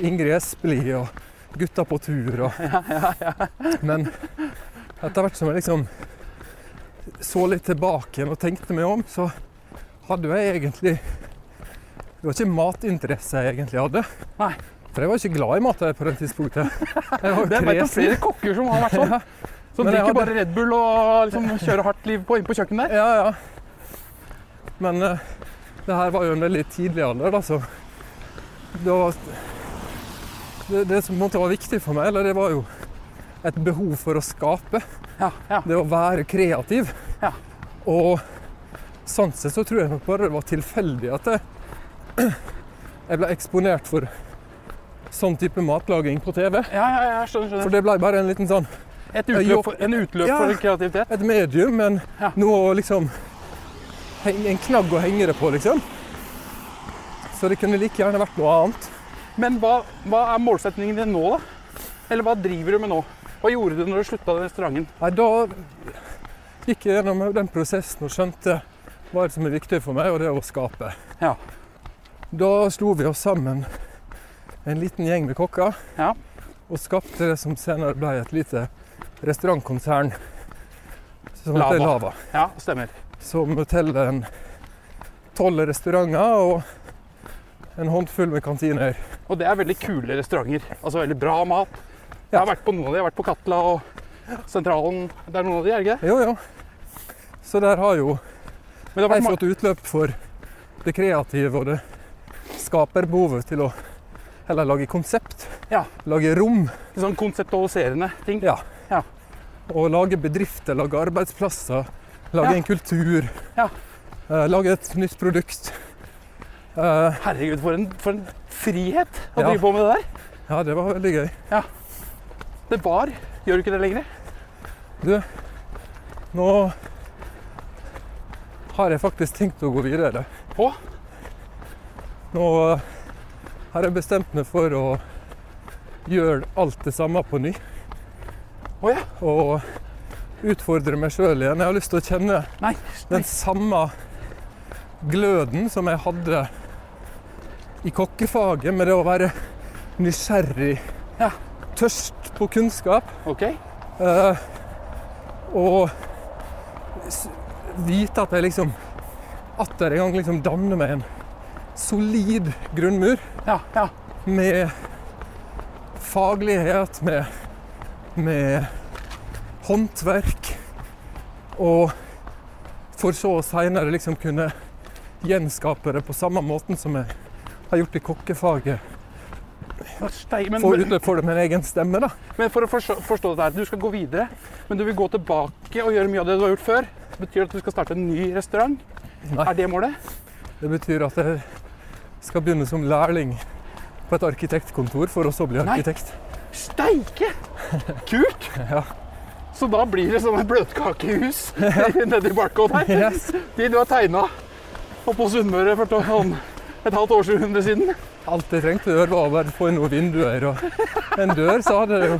Speaker 4: Ingrid Espelid og Gutta på tur og Men etter hvert som jeg liksom så litt tilbake igjen og tenkte meg om, så hadde jeg egentlig Det var ikke matinteresse jeg egentlig hadde.
Speaker 1: Nei.
Speaker 4: For jeg var ikke glad i mat jeg, på det tidspunktet. Jeg var
Speaker 1: Det er vet om
Speaker 4: kresen.
Speaker 1: flere kokker som har vært sånn. Som
Speaker 4: Men jeg
Speaker 1: drikker
Speaker 4: hadde-
Speaker 1: bare Red Bull og liksom kjører hardt liv på, inn på kjøkkenet der.
Speaker 4: Ja, ja. Men eh, det her var jo en veldig tidlig alder, da, så det, var, det, det som på en måte var viktig for meg, eller det var jo et behov for å skape.
Speaker 1: Ja, ja.
Speaker 4: Det å være kreativ.
Speaker 1: Ja.
Speaker 4: Og sånn sett så tror jeg nok bare det var tilfeldig at jeg, jeg ble eksponert for sånn type matlaging på TV.
Speaker 1: Ja, ja, ja, skjønner,
Speaker 4: For
Speaker 1: skjønner.
Speaker 4: det ble bare en liten sånn
Speaker 1: Et utløp for, en utløp
Speaker 4: Ja.
Speaker 1: for kreativitet.
Speaker 4: et medium, men
Speaker 1: Ja.
Speaker 4: noe å liksom heng- En knagg å henge det på, liksom. Så det kunne like gjerne vært noe annet.
Speaker 1: Men hva, hva er målsetningen din nå, da? Eller hva driver du med nå? Hva gjorde du når du slutta i restauranten?
Speaker 4: Nei, da gikk jeg gjennom den prosessen og skjønte hva er det som er viktig for meg, og det er å skape.
Speaker 1: Ja.
Speaker 4: Da slo vi oss sammen, en liten gjeng med kokker,
Speaker 1: Ja.
Speaker 4: og skapte det som senere ble et lite restaurantkonsern som
Speaker 1: Lava.
Speaker 4: heter Lava.
Speaker 1: Ja, stemmer.
Speaker 4: som teller en tolv restauranter og en håndfull med kantiner.
Speaker 1: Og det er veldig kule restauranter. Altså veldig bra mat. Jeg
Speaker 4: Ja.
Speaker 1: har vært på noen av de. Jeg har vært på Katla og Sentralen. Det er noen av de, er det ikke det?
Speaker 4: Jo, jo. Så der har jo
Speaker 1: Men det har
Speaker 4: jeg
Speaker 1: vært ma-
Speaker 4: fått utløp for det kreative og det skaper behovet til å heller lage konsept,
Speaker 1: Ja.
Speaker 4: lage rom
Speaker 1: litt sånn konseptualiserende ting.
Speaker 4: Ja. og lage bedrifter, lage arbeidsplasser, lage
Speaker 1: Ja.
Speaker 4: en kultur,
Speaker 1: Ja.
Speaker 4: eh, lage et nytt produkt. Eh,
Speaker 1: Herregud, for en, for en frihet å
Speaker 4: Ja.
Speaker 1: drive på med det der.
Speaker 4: ja, det var veldig gøy.
Speaker 1: Det var. Gjør du ikke det lenger?
Speaker 4: Nå har jeg faktisk tenkt å gå videre.
Speaker 1: Å?
Speaker 4: Nå har jeg bestemt meg for å gjøre alt det samme på ny.
Speaker 1: Å ja.
Speaker 4: Og utfordre meg sjøl igjen. Jeg har lyst til å kjenne
Speaker 1: Nei.
Speaker 4: den samme gløden som jeg hadde i kokkefaget med det å være nysgjerrig,
Speaker 1: Ja.
Speaker 4: tørst på kunnskap.
Speaker 1: Ok.
Speaker 4: Eh, og s- vite at jeg liksom atter en gang liksom danner meg en solid grunnmur
Speaker 1: Ja, ja.
Speaker 4: med faglighet, med, med håndverk. Og for så å seinere liksom kunne gjenskape det på samme måten som jeg har gjort i kokkefaget.
Speaker 1: Stei, men,
Speaker 4: Få
Speaker 1: men,
Speaker 4: utløp for det med en egen stemme, da.
Speaker 1: men for å forstå, forstå det her, du skal gå videre, men du vil gå tilbake og gjøre mye av det du har gjort før. Betyr det at du skal starte en ny restaurant?
Speaker 4: Nei.
Speaker 1: Er det målet?
Speaker 4: Det betyr at jeg skal begynne som lærling på et arkitektkontor, for å så bli
Speaker 1: Nei.
Speaker 4: arkitekt.
Speaker 1: Steike! Kult!
Speaker 4: Ja.
Speaker 1: Så da blir det sånne bløtkakehus nedi Barcode her.
Speaker 4: Yes.
Speaker 1: De du har tegna oppå Sunnmøre for sånn et halvt århundre siden.
Speaker 4: Alt jeg trengte å gjøre, var å bare få inn noen vinduer og en dør, så hadde jo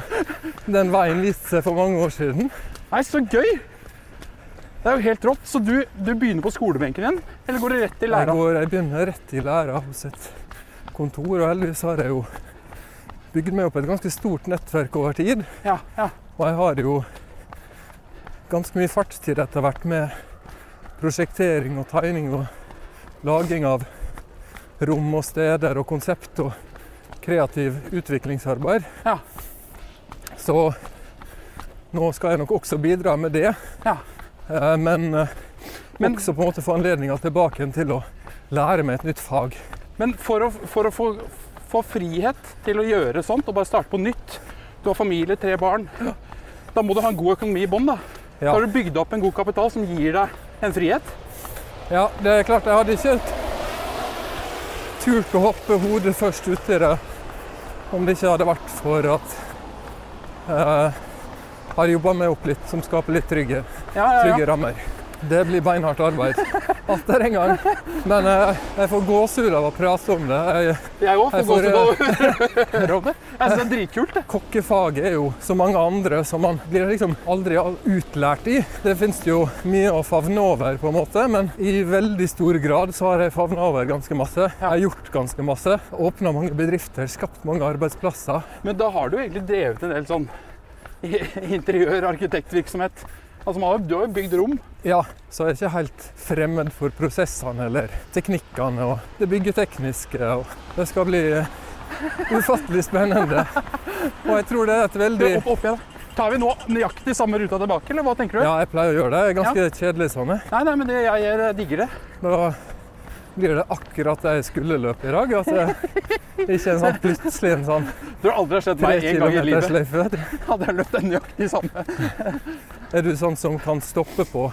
Speaker 4: den veien vist seg for mange år siden.
Speaker 1: Nei, så gøy! Det er jo helt rått. Så du, du begynner på skolebenken igjen? Eller går du rett i
Speaker 4: Jeg,
Speaker 1: læra?
Speaker 4: går, jeg begynner rett i læra hos et kontor, og heldigvis har jeg jo bygd meg opp et ganske stort nettverk over tid.
Speaker 1: Ja, ja.
Speaker 4: Og jeg har jo ganske mye fartstid etter hvert med prosjektering og tegning og laging av rom og steder og konsept og kreativ utviklingsarbeid.
Speaker 1: Ja.
Speaker 4: Så nå skal jeg nok også bidra med det.
Speaker 1: Ja.
Speaker 4: Eh, Men, eh,
Speaker 1: Men-
Speaker 4: også på en måte få anledninga tilbake igjen til å lære meg et nytt fag.
Speaker 1: Men for å, for å få, få frihet til å gjøre sånt og bare starte på nytt Du har familie, tre barn. Da må du ha en god økonomi i bånn. Da. da
Speaker 4: Ja.
Speaker 1: har du bygd opp en god kapital som gir deg en frihet.
Speaker 4: Ja, det er klart. Jeg hadde ikke turt å hoppe hodet først uti det om det ikke hadde vært for at eh, jeg har jobba meg opp litt, som skaper litt trygge,
Speaker 1: Ja, ja,
Speaker 4: trygge
Speaker 1: ja.
Speaker 4: rammer. Det blir beinhardt arbeid. Atter en gang. Men eh, jeg får gåsehud av å prate om det. Jeg,
Speaker 1: Jeg òg
Speaker 4: Jeg
Speaker 1: får
Speaker 4: får, eh,
Speaker 1: gåsehud av å høre om det. Jeg synes Altså, det er dritkult. det.
Speaker 4: kokkefaget er jo så mange andre som man blir liksom aldri all- utlært i. Det fins jo mye å favne over, på en måte, men i veldig stor grad så har jeg favna over ganske masse. Jeg har gjort ganske masse. Åpna mange bedrifter, skapt mange arbeidsplasser.
Speaker 1: Men da har du egentlig drevet en del sånn i- interiør- og arkitektvirksomhet Altså, man har, du har jo bygd rom.
Speaker 4: Ja, så jeg er ikke helt fremmed for prosessene eller teknikkene og det byggetekniske. Og det skal bli eh, ufattelig spennende. Og jeg tror det er et
Speaker 1: Du,
Speaker 4: veldig
Speaker 1: opp, opp igjen. Tar vi nå nøyaktig samme ruta tilbake, eller hva tenker du?
Speaker 4: Ja, jeg pleier å gjøre det. Jeg er ganske kjedelig sånn. jeg.
Speaker 1: Nei, nei, men det, jeg, jeg digger det.
Speaker 4: Da blir det akkurat det jeg skulle løpe i dag. At det ikke er en sånn plutselig en sånn
Speaker 1: Du har aldri sett
Speaker 4: tre
Speaker 1: meg en gang i livet.
Speaker 4: kilometer-sløyfe.
Speaker 1: Hadde jeg løpt den nøyaktig samme.
Speaker 4: Er du sånn som kan stoppe på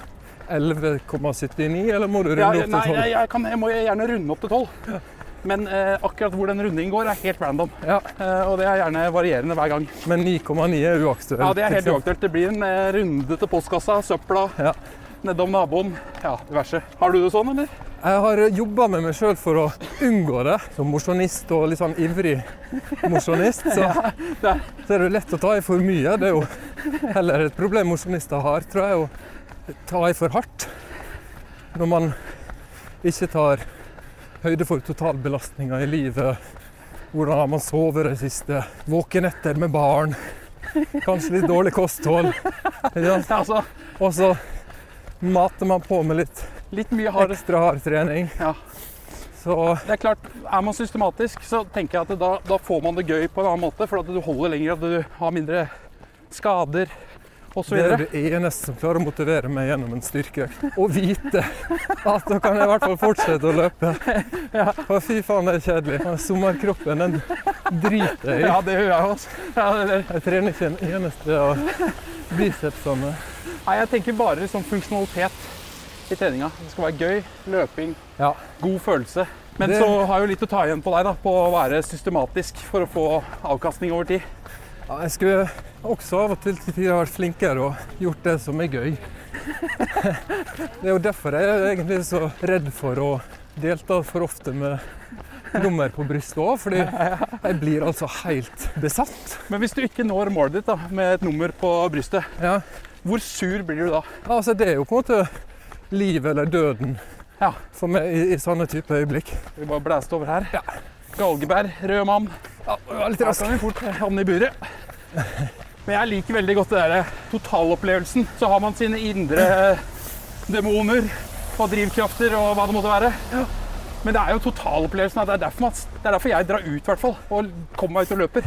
Speaker 4: 11,79, eller må du runde
Speaker 1: Ja,
Speaker 4: opp
Speaker 1: nei,
Speaker 4: til 12?
Speaker 1: jeg, jeg, kan, jeg må gjerne runde opp til tolv. Men eh, akkurat hvor den rundingen går, er helt random.
Speaker 4: Ja,
Speaker 1: Eh, og det er gjerne varierende hver gang.
Speaker 4: men 9,9 er uaktuelt.
Speaker 1: Ja, Det er helt
Speaker 4: liksom.
Speaker 1: uaktuelt. Det blir en eh, runde til postkassa, søpla,
Speaker 4: Ja.
Speaker 1: nedom naboen. Ja, diverse. Har du det sånn, eller?
Speaker 4: Jeg har jobba med meg sjøl for å unngå det. Som mosjonist og litt sånn ivrig mosjonist, så,
Speaker 1: det
Speaker 4: så er det jo lett å ta i for mye. Det er jo heller et problem mosjonister har, tror jeg, å ta i for hardt. Når man ikke tar høyde for totalbelastninga i livet. Hvordan har man sovet de siste våkenetter med barn? Kanskje litt dårlig kosthold. ikke sant?
Speaker 1: Ja, altså,
Speaker 4: Og så mater man på med litt
Speaker 1: litt mye hardere.
Speaker 4: ekstra hard trening.
Speaker 1: Ja.
Speaker 4: Så
Speaker 1: Det er klart, Er man systematisk, så tenker jeg at det da, da får man det gøy på en annen måte. For at du holder lenger, at du har mindre skader osv.
Speaker 4: Det er det eneste som klarer å motivere meg gjennom en styrkeøkt. Å vite at da kan jeg i hvert fall fortsette å løpe. For fy faen, det er kjedelig. Og Sommerkroppen, den driter jeg i.
Speaker 1: Ja, det gjør jeg også. Ja, det, det.
Speaker 4: Jeg trener ikke en eneste av bicepsene.
Speaker 1: Nei, jeg tenker bare liksom funksjonalitet i treninga. Det skal være gøy, løping,
Speaker 4: Ja.
Speaker 1: god følelse. Men
Speaker 4: Det-
Speaker 1: så har jeg jo litt å ta igjen på deg, da, på å være systematisk for å få avkastning over tid.
Speaker 4: Ja, Jeg skulle også av og til til tider vært flinkere og gjort det som er gøy. Det er jo derfor jeg er egentlig så redd for å delta for ofte med nummer på brystet òg, fordi jeg blir altså helt besatt.
Speaker 1: Men hvis du ikke når målet ditt da, med et nummer på brystet,
Speaker 4: Ja.
Speaker 1: hvor sur blir du da?
Speaker 4: Ja, Altså, det er jo på en måte livet eller døden
Speaker 1: Ja.
Speaker 4: for meg i, i sånne type øyeblikk.
Speaker 1: Vi bare blæste over her. Galgeberg, rød mann.
Speaker 4: Ja, vær litt
Speaker 1: Her
Speaker 4: rask.
Speaker 1: kan vi fort eh, havne i buret. Men jeg liker veldig godt det der eh, totalopplevelsen. Så har man sine indre eh, demoner og drivkrafter og hva det måtte være. Men det er jo totalopplevelsen. Det er derfor, man, det er derfor jeg drar ut, i hvert fall. Og kommer meg ut og løper.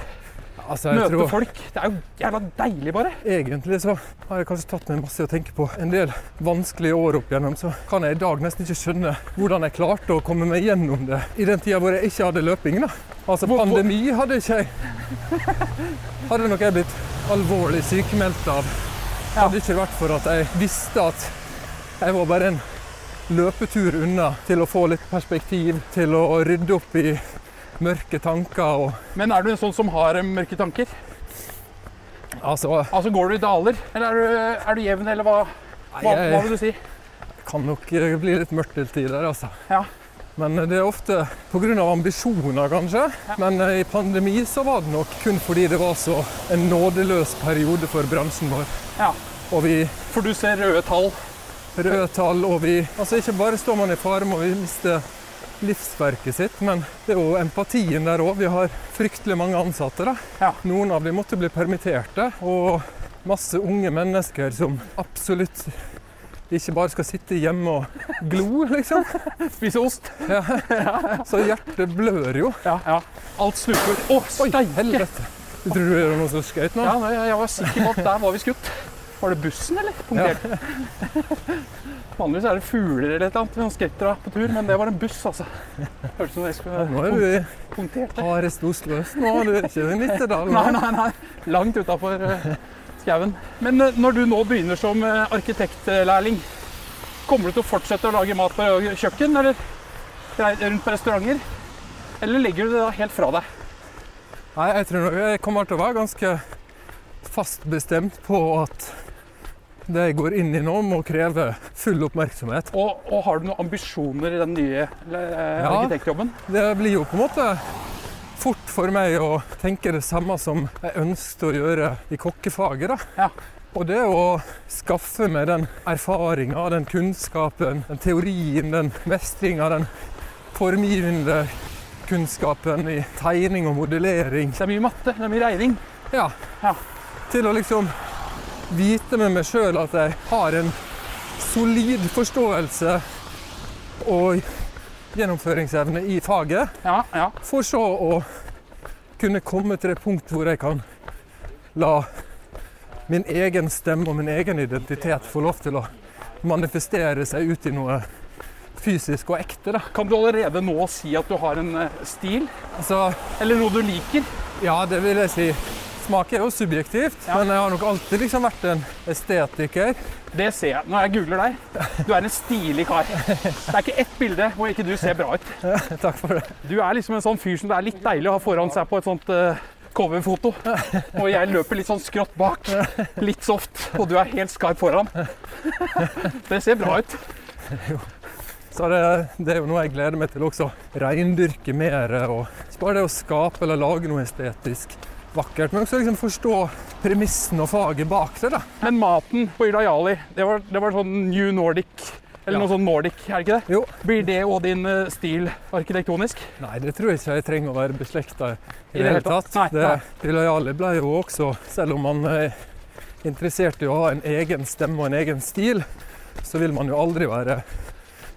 Speaker 4: Altså, jeg
Speaker 1: Møter
Speaker 4: tror
Speaker 1: folk. Det er jo jævla deilig, bare.
Speaker 4: egentlig så har jeg kanskje tatt meg masse å tenke på. En del vanskelige år opp igjennom, så kan jeg i dag nesten ikke skjønne hvordan jeg klarte å komme meg gjennom det i den tida hvor jeg ikke hadde løping, da. Altså,
Speaker 1: Hvor- hvor-
Speaker 4: pandemi hadde ikke jeg. Hadde nok jeg blitt alvorlig sykemeldt av. Hadde ikke det vært for at jeg visste at jeg var bare en løpetur unna til å få litt perspektiv, til å rydde opp i mørke tanker og
Speaker 1: Men er du en sånn som har eh, mørke tanker?
Speaker 4: Altså,
Speaker 1: Altså, Går du i daler? Eller er du, er du jevn, eller hva, hva,
Speaker 4: jeg-
Speaker 1: hva vil du si?
Speaker 4: kan nok eh, bli litt mørkt til tider, altså.
Speaker 1: Ja.
Speaker 4: Men eh, det er ofte pga. ambisjoner, kanskje. Men eh, i pandemi så var det nok kun fordi det var så en nådeløs periode for bransjen vår.
Speaker 1: Ja.
Speaker 4: Og vi
Speaker 1: For du ser røde tall.
Speaker 4: røde tall, og vi Altså, ikke bare står man i fare med å miste livsverket sitt, men det er jo empatien der òg. Vi har fryktelig mange ansatte, da.
Speaker 1: Ja.
Speaker 4: Noen av dem måtte bli permitterte, og masse unge mennesker som absolutt ikke bare skal sitte hjemme og glo, liksom.
Speaker 1: Spiser ost.
Speaker 4: Ja. Så hjertet blør jo.
Speaker 1: Ja. ja. Alt sluker. Å,
Speaker 4: Oi,
Speaker 1: steike!
Speaker 4: helvete! Jeg tror det var noen som skøyt nå.
Speaker 1: Ja, nei, jeg var sikker på at der var vi skutt. Var det bussen, eller? Punktert. Vanligvis er det fugler eller et eller annet noen skretter på tur, men det var en buss, altså. Hørtes ut som jeg skulle
Speaker 4: Nå er du i
Speaker 1: punktert. der.
Speaker 4: hardeste Oslo øst. Nå er du ikke i Nittedal.
Speaker 1: Nei, nei, nei. Langt utafor eh, skauen. Men eh, når du nå begynner som eh, arkitektlærling, kommer du til å fortsette å lage mat på kjøkken, eller rei- rundt på restauranter? Eller legger du det da helt fra deg?
Speaker 4: Nei, jeg tror nok jeg kommer til å være ganske fast bestemt på at det jeg går inn i nå, må kreve full oppmerksomhet.
Speaker 1: Og, og har du noen ambisjoner i den nye eh,
Speaker 4: Ja.
Speaker 1: arkitektjobben?
Speaker 4: Det blir jo på en måte fort for meg å tenke det samme som jeg ønsket å gjøre i kokkefaget. da.
Speaker 1: Ja.
Speaker 4: Og det å skaffe meg den erfaringa, den kunnskapen, den teorien, den mestringa, den formgivende kunnskapen i tegning og modellering
Speaker 1: Det er mye matte, det er mye regning.
Speaker 4: Ja.
Speaker 1: Ja.
Speaker 4: Til å liksom vite med meg sjøl at jeg har en solid forståelse og gjennomføringsevne i faget,
Speaker 1: Ja, ja.
Speaker 4: for så å kunne komme til det punkt hvor jeg kan la min egen stemme og min egen identitet få lov til å manifestere seg ut i noe fysisk og ekte. Da.
Speaker 1: Kan du allerede nå si at du har en eh, stil,
Speaker 4: Altså,
Speaker 1: eller noe du liker?
Speaker 4: Ja, det vil jeg si. Smak er jo subjektivt, men jeg har nok alltid liksom vært en estetiker.
Speaker 1: Det ser jeg når jeg googler deg. Du er en stilig kar. Det er ikke ett bilde hvor ikke du ser bra ut.
Speaker 4: Takk for det.
Speaker 1: Du er liksom en sånn fyr som det er litt deilig å ha foran seg på et sånt eh, coverfoto. Og jeg løper litt sånn skrått bak, litt soft, og du er helt skarp foran. Det ser bra ut.
Speaker 4: Så det, det er jo noe jeg gleder meg til også. Reindyrke mer og bare det å skape eller lage noe estetisk vakkert. Men også liksom forstå premissen og faget bak det. da.
Speaker 1: Men maten på Ila Jali, det var, det var sånn New Nordic, eller
Speaker 4: Ja.
Speaker 1: noe sånn Nordic, er det ikke det?
Speaker 4: Jo.
Speaker 1: Blir det òg din eh, stil arkitektonisk?
Speaker 4: Nei, det tror jeg ikke jeg trenger å være beslekta i
Speaker 1: I
Speaker 4: det hele tatt.
Speaker 1: Nei,
Speaker 4: Det Ilojali ble jo også, selv om man er interessert i å ha en egen stemme og en egen stil, så vil man jo aldri være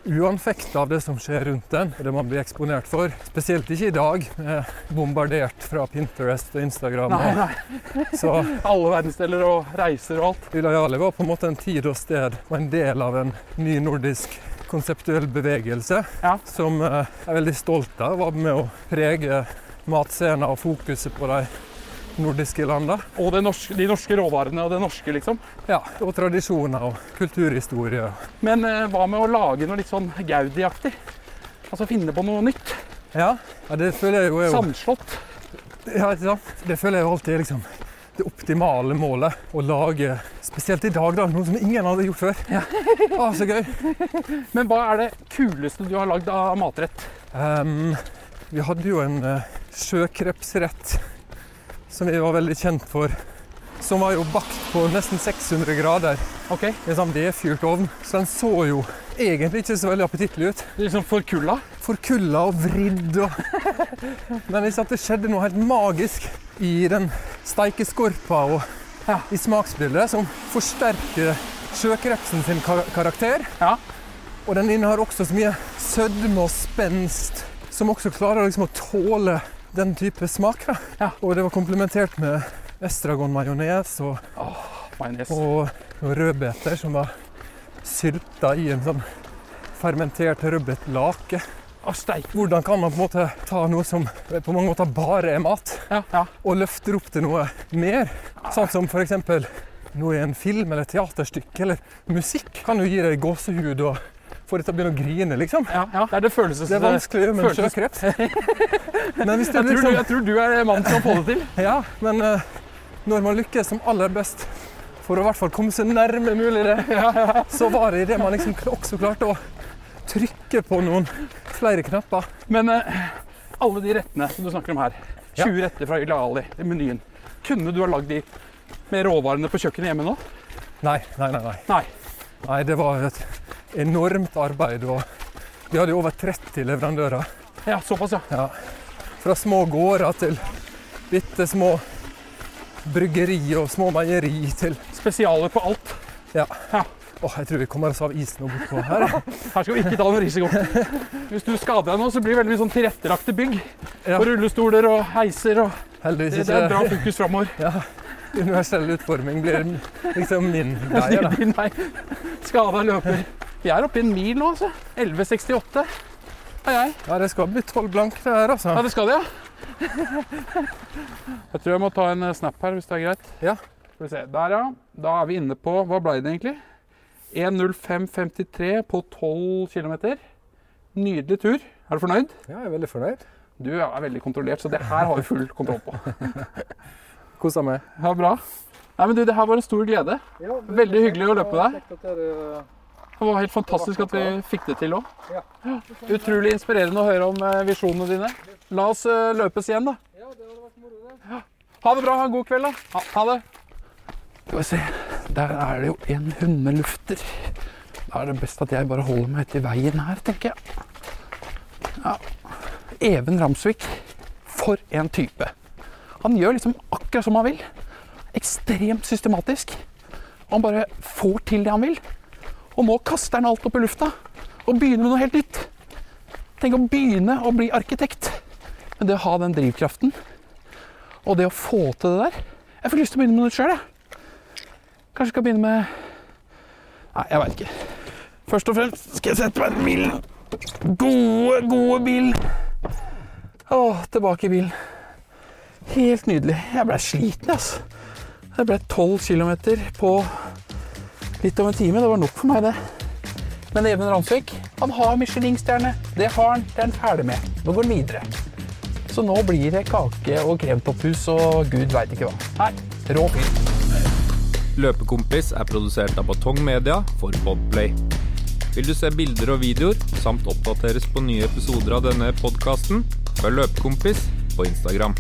Speaker 4: uanfekta av det som skjer rundt den, og det man blir eksponert for. Spesielt ikke i dag, eh, bombardert fra Pinterest og Instagram.
Speaker 1: nei,
Speaker 4: og-
Speaker 1: nei.
Speaker 4: Så
Speaker 1: Alle verdensdeler og reiser og alt.
Speaker 4: Ilojali var på en måte en tid og sted og en del av en ny nordisk konseptuell bevegelse
Speaker 1: Ja.
Speaker 4: som eh, jeg er veldig stolt av. Var med å prege matscenen og fokuset på de nordiske landene.
Speaker 1: Og det norske, de norske råvarene og det norske, liksom.
Speaker 4: Ja, og tradisjoner og kulturhistorie.
Speaker 1: Men eh, hva med å lage noe litt sånn Gaudi-aktig? Altså finne på noe nytt.
Speaker 4: Ja, ja det føler jeg jo er jo
Speaker 1: Sandslott.
Speaker 4: ja, ikke sant? Det føler jeg jo alltid er liksom det optimale målet. Å lage, spesielt i dag, da, noe som ingen hadde gjort før. Å, så gøy.
Speaker 1: Men hva er det kuleste du har lagd av matrett?
Speaker 4: Ehm, vi hadde jo en eh, sjøkrepsrett som vi var veldig kjent for. Som var jo bakt på nesten 600 grader
Speaker 1: Ok,
Speaker 4: i en sånn vedfyrt ovn. Så den så jo egentlig ikke så veldig appetittlig ut.
Speaker 1: Liksom forkulla?
Speaker 4: forkulla og vridd. Og... Men ikke sant, det skjedde noe helt magisk i den steikeskorpa og
Speaker 1: Ja.
Speaker 4: i smaksbildet som forsterker sjøkrepsen sin kar karakter.
Speaker 1: Ja.
Speaker 4: Og den innehar også så mye sødme og spenst som også klarer liksom å tåle den type smak. Da.
Speaker 1: Ja.
Speaker 4: Og det var komplementert med estragonmajones og,
Speaker 1: Majones.
Speaker 4: og noen rødbeter som var sylta i en sånn fermentert rødbetlake.
Speaker 1: Å, steik.
Speaker 4: Hvordan kan man på en måte ta noe som eh, på mange måter bare er mat,
Speaker 1: Ja, ja.
Speaker 4: og løfte det opp til noe mer? Sånn som f.eks. noe i en film eller et teaterstykke eller musikk kan jo gi deg gåsehud og få deg til å begynne å grine, liksom.
Speaker 1: ja, ja. Det er det
Speaker 4: Det
Speaker 1: følelses...
Speaker 4: er vanskelig med en
Speaker 1: følelses-
Speaker 4: sjøkreps. Men hvis du
Speaker 1: Jeg tror, du,
Speaker 4: liksom
Speaker 1: jeg tror du er mannen som får det til.
Speaker 4: Ja, men eh, når man lykkes som aller best for å i hvert fall komme så nærme mulig det, så var det i det man liksom også klarte å trykke på noen flere knapper.
Speaker 1: Men eh, alle de rettene som du snakker om her, 20 retter fra Ila Ali i menyen, kunne du ha lagd de med råvarene på kjøkkenet hjemme nå?
Speaker 4: Nei, nei, nei. nei.
Speaker 1: Nei.
Speaker 4: Nei, det var et enormt arbeid. Og vi hadde jo over 30 leverandører.
Speaker 1: Ja, såpass, ja.
Speaker 4: Fra små gårder til bitte små bryggeri og små meieri til
Speaker 1: Spesialer på alt.
Speaker 4: Åh, jeg tror vi kommer oss av isen og bortpå her.
Speaker 1: Her skal vi ikke ta noen risiko. Hvis du skader deg nå, så blir det veldig mye sånn tilrettelagte bygg.
Speaker 4: Ja.
Speaker 1: Og rullestoler og heiser og
Speaker 4: Heldigvis
Speaker 1: Det, det er bra
Speaker 4: ikke
Speaker 1: fokus framover.
Speaker 4: universell utforming blir liksom min greie. da.
Speaker 1: Nei. Skada løper. Vi er oppe i en mil nå, altså. 11,68 er jeg.
Speaker 4: Ja, det skal bli tolv blank det her,
Speaker 1: Ja,
Speaker 4: altså.
Speaker 1: det skal det, ja. Jeg tror jeg må ta en eh, snap her, hvis det er greit.
Speaker 4: Ja.
Speaker 1: Skal vi se. Der, ja. Da er vi inne på Hva ble det egentlig? 1.05,53 på 12 km. Nydelig tur. Er du fornøyd?
Speaker 4: Ja, jeg er veldig fornøyd.
Speaker 1: Du er veldig kontrollert, så det her har vi full kontroll på.
Speaker 4: Kosa meg.
Speaker 1: Ja, bra. Nei, men du, Det her var en stor glede. Veldig hyggelig å løpe med deg. Det var helt fantastisk at vi fikk det til òg. Utrolig inspirerende å høre om eh, visjonene dine. La oss eh, løpes igjen, da. Ja. Ha det bra. Ha en god kveld, da. Ha, ha det. Skal vi se. Der er det jo en hundelufter. Da er det best at jeg bare holder meg etter veien her, tenker jeg. Ja. Even Ramsvik. For en type. Han gjør liksom akkurat som han vil ekstremt systematisk. Han bare får til det han vil. Og nå kaster han alt opp i lufta og begynner med noe helt nytt. Tenk å begynne å bli arkitekt. Men det å ha den drivkraften og det å få til det der Jeg får lyst til å begynne med noe sjøl, jeg. Kanskje jeg skal begynne med Nei, jeg veit ikke. Først og fremst skal jeg sette meg en mild Gode, gode bil. Å, tilbake i bilen. Helt nydelig. Jeg blei sliten, ass. Det ble 12 km på litt over en time. Det var nok for meg, det. Men Even Ransvik, han har Michelin-stjerne. Det har han. Det er han ferdig med. Nå går han videre. Så nå blir det kake og kremtopphus og gud veit ikke hva. Nei, rå fyr.
Speaker 5: Løpekompis er produsert av Batong Media for Podplay. Vil du se bilder og videoer, samt oppdateres på nye episoder av denne podkasten, følg Løpekompis på Instagram.